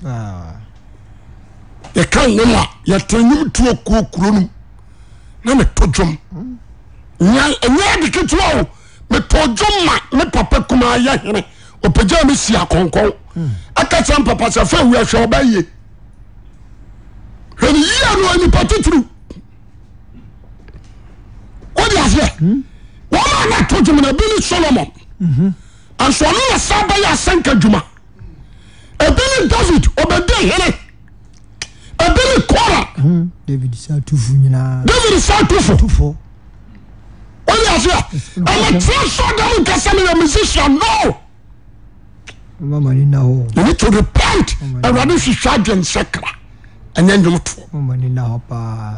Speaker 2: yɛka nnwom a yɛtɛ nnwom tuo kuo kuro no mu na metɔ dwom Nya- ɛnyɛ de ketewa o metɔ dwom ma me papa kumaa yɛ hene ɔpagya me si akɔnkɔn aka kyerɛ m papa sɛ fa awia hwɛ ɔba yie hwɛ ne yia no anipa titiriw wode aseɛ wɔma na to dwom no bi ne solomon anso ɔno na sa bɛyɛ asɛnka dwuma ebi ne david ɔbɛdi hene ebi ne kora
Speaker 1: hmm?
Speaker 3: david saa tofo nyinaa
Speaker 2: david sa tofo
Speaker 3: tofo
Speaker 2: wọ́n yà sẹ́ ẹ̀mẹ̀ tí a sọ dáhùn kẹsẹ́ mi yẹ musician no
Speaker 3: mama ne na hɔ
Speaker 2: you need to repent ẹ̀rọ̀dẹ̀ hwehwẹ́ adé nsẹ́kara ẹ̀nyẹ́ ndwomtoɔ
Speaker 3: mama ne na hɔ paa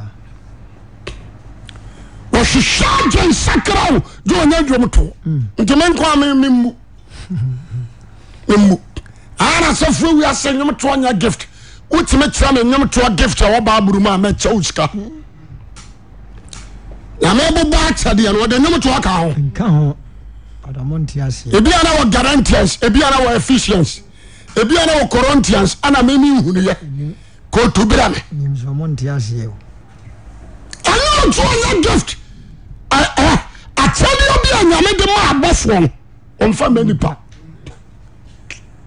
Speaker 2: wọ́n hwehwẹ́ adé nsẹ́kara o jọ ẹ̀nyẹ́ ndwomtoɔ ntoma nkọ́ mi mi mu mi mu ara sẹ́ fún ewia sẹ́ ndwomtoɔ nyɛ gift wọ́n ti mi kyerẹ́ mi ndwomtoɔ gift ẹ̀wọ́ bá aburu mu a mẹ́ kyẹ́ òsìkà yàmẹ́ bọ́bọ́ akyẹ́deẹ́ no ọ̀dẹ̀ ndwomtoɔ kà ho.
Speaker 3: nka ho adamɔ nte aseɛ
Speaker 2: ebi ana wɔ garantians ebi ana wɔ ephesians ebi ana wɔ corinthians ana mimi nhunuyɛ kootu bira mi
Speaker 3: nimsɔmɔ nte aseɛ o
Speaker 2: ɛyɛ otu ɔyɛ gift ɛ- ɛ akyɛdeɛ bi a nyame de ma abɔfoɔ no ɔnfa mɛ nipa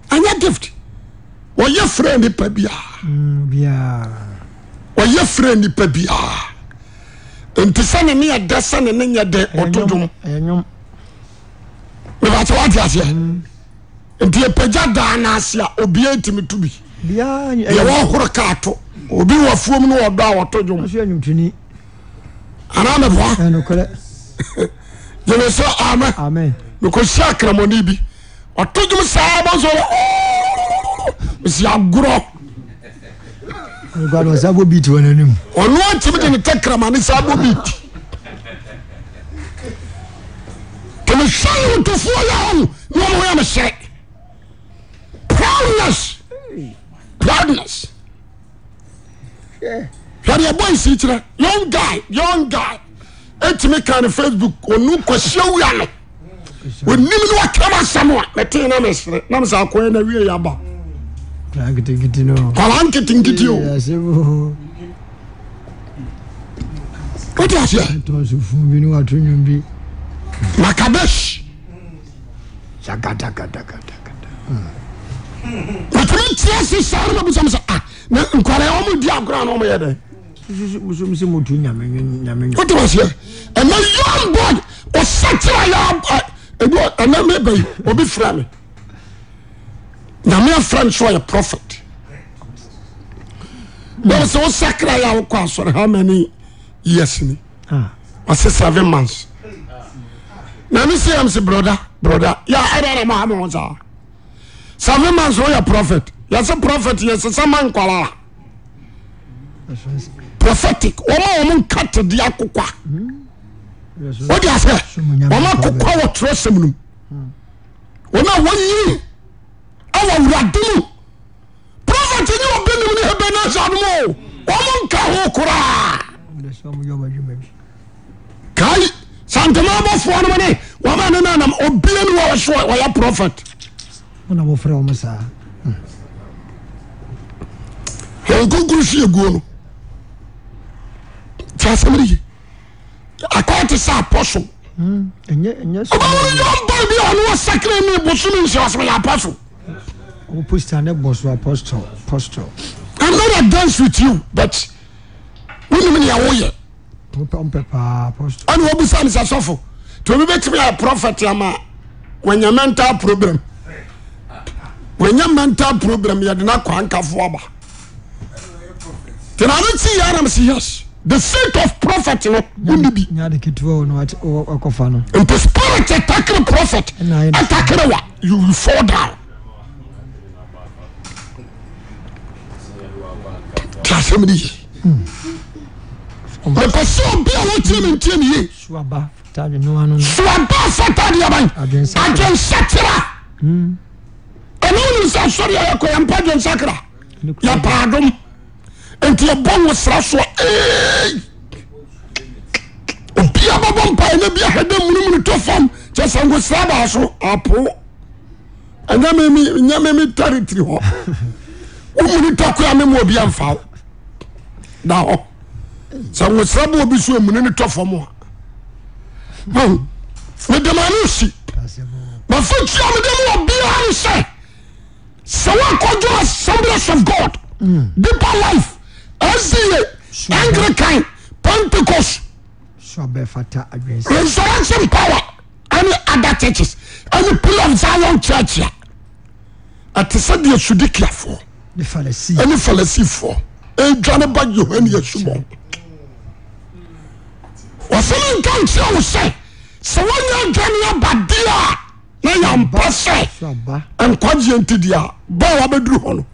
Speaker 2: ɛnyɛ gift wɔyɛ frɛ nipa biara
Speaker 1: Hmm,
Speaker 3: biaa
Speaker 2: wɔyɛ frɛ nipa biara nti sɛne ne yɛ dɛ sɛne ne nyɛ dɛ ɔto dwom
Speaker 3: ɛyɛ nwom
Speaker 2: mebɛkyɛ wate aseɛ nti yɛpagya daa no ase a obiaa timi to bi
Speaker 3: biaa
Speaker 2: yɛ
Speaker 3: ɛyɛ
Speaker 2: wɔ horo kaato obi wɔ fuom no wɔdɔ a wɔto dwom
Speaker 3: so anwumtoni
Speaker 2: anaa meboa
Speaker 3: ɛnokorɛ
Speaker 2: gyeme sɛ amɛ
Speaker 3: amen
Speaker 2: mekɔhyia akramɔne bi ɔto dwom saa bɔ so mesi agorɔ
Speaker 3: ɔnokorɛ no ɔsa bɔ beat wɔ n'anim
Speaker 2: ɔno akyimi de ne tɛ kramane saa bɔ bit kemehwɛ yotofoɔ yɛ hɔ no ne ɔmo yɛ mehyɛ proudness proudness hwɛdeɛ bɔ nsi kyerɛ young guy young guy ɛtumi ka ne facebook ɔnu kɔhyia wia no ɔnim ne wakram asɛm a mɛtee na mesere na mesa akɔɛ na wie yɛ aba
Speaker 3: kra nketekete no
Speaker 2: kwala nketenkete o
Speaker 3: asɛm
Speaker 2: wote aseɛ
Speaker 3: tɔ so fu bi ne wato nwom bi
Speaker 2: makabesh matumi tie se sare ma busam sɛ a Ah, na nkware ɔmo di agorɔ na ɔmoyɛ dɛn
Speaker 3: wosom sɛ moto nyame nwo- nyame nwo.
Speaker 2: wotem aseɛ ɛna yon board ɔsakyera yɛ ɛbi ɛna meba yi obi fra me nyame afra nso ɔyɛ prophet bɛm sɛ wosakra yɛ a wokɔ asɔre how many years ni
Speaker 3: Ah,
Speaker 2: ɔse seven months na me se am se broda broda yɛ ɛdɛna ma hame wo saa seven months woyɛ prophet yɛse prophet yɛsesa ma nkwalaa
Speaker 3: ɛso nsɛ-
Speaker 2: prophetic wɔma wɔm nka tede akokwa
Speaker 3: ɛso
Speaker 2: wode asɛ
Speaker 3: Somu nyame
Speaker 2: wɔma
Speaker 3: kwa
Speaker 2: kokwa wɔ twerɛ sɛm nom wɔn a wɔnyini awɔ awurade mu prophet nyɛ ɔbɛ nom ne hebe no asa nom o wɔmo nka ho koraa
Speaker 3: ɛso sɛ ɔmo yɛ ɔmo adwuma bi
Speaker 2: kai santoma abɔfoɔ nom ne wɔma ne no nam obia ne wɔ so wɔyɛ prophet
Speaker 3: wona mofrɛ wɔ m saa
Speaker 2: nkonkuru fie guo no ti asɛm ne ye akɔyɛ te sɛ apɔso
Speaker 3: ɛnyɛ ɛnyɛ
Speaker 2: ɔbɛwo
Speaker 3: sɛ
Speaker 2: no yɔmba bi a ɔne wɔ sakra ne bosome nhyɛ wasɛm yɛ apɔso
Speaker 3: ɔmo posta ne bɔ so apostol apostol
Speaker 2: I'm not against with you, but wonim ne ɛwoyɛ
Speaker 3: ɔmpɛ ɔmpɛ paa apostol
Speaker 2: ɔne wɔbusa ne sɛ sɔfo nti obi bɛtumi ayɛ prophet ama wanya mental problem wanya mental problem yɛde no akɔ ankafo aba nti na ne tii yɛ anam sɛ yes the seat of prophet no wonni bi
Speaker 3: nyade ketewa wɔ no wate- wɔ- wɔkɔfa no
Speaker 2: nti spirit atakere prophet
Speaker 3: Ɛna ayɛ no saa.
Speaker 2: atakere wa you will fall down ti asɛm ne ye
Speaker 3: Hmm.
Speaker 2: mepɛ sɛ obi a wɔtie me ntie ne ye
Speaker 3: suaba fata adwene ano no
Speaker 2: soaba afata deɛ ban
Speaker 3: Adwensakra.
Speaker 2: adwensakra ɛne wonim sɛ asɔre a yɛkɔ yɛmpa adwensakra
Speaker 3: ne kura
Speaker 2: yɛpaadom enti yɛbɔ wo sra soɔ ee. obia bɔbɔ mpae na bi ahɛda munumunu to fam kyɛ sɛ nkosra baa so apo ɛnyɛ me me- ɛnyɛ me me territory hɔ womuni tɔko a mema obi amfa wo da hɔ sɛ nkosra bɔ obi so amuni no tɔ fam a mahu medema no si
Speaker 3: asɛm wɔ
Speaker 2: mafa tua mede mu wɔ biara ne sɛ sɛ woakɔdwo assemblies of god deeper life sda
Speaker 3: Sure.
Speaker 2: anglican pentecost
Speaker 3: suaba fata adwene sa
Speaker 2: resurrection power ɛne other churches ɛne pillar of zion church a ɛte sɛ deɛ sudikiafoɔ
Speaker 3: ne farisi
Speaker 2: ɛne farisifoɔ ɛdwane ba yohane asubɔ wɔsɛme nka nkyerɛ wo sɛ sɛ woanya adwane aba deɛ a na yɛmpa sɛ
Speaker 3: suaba
Speaker 2: nkwagyeɛ nti deɛ a ba a wabɛduru hɔ no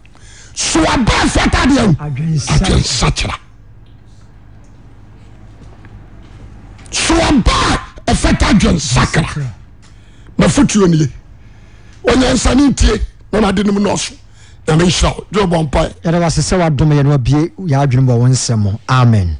Speaker 2: so waba afɛtadeɛ no
Speaker 3: adwene sa
Speaker 2: adwensakyera so waba a ɛfɛta adwensakra
Speaker 3: kra
Speaker 2: mafotuo nie ɔnyansane ntie na nade nom nɔɔso nyame nhyira wo dwobɔ mpae
Speaker 1: yɛda wase sɛ wadome yɛ no wabie yɛ adwene bɔ wo nsɛm ho amen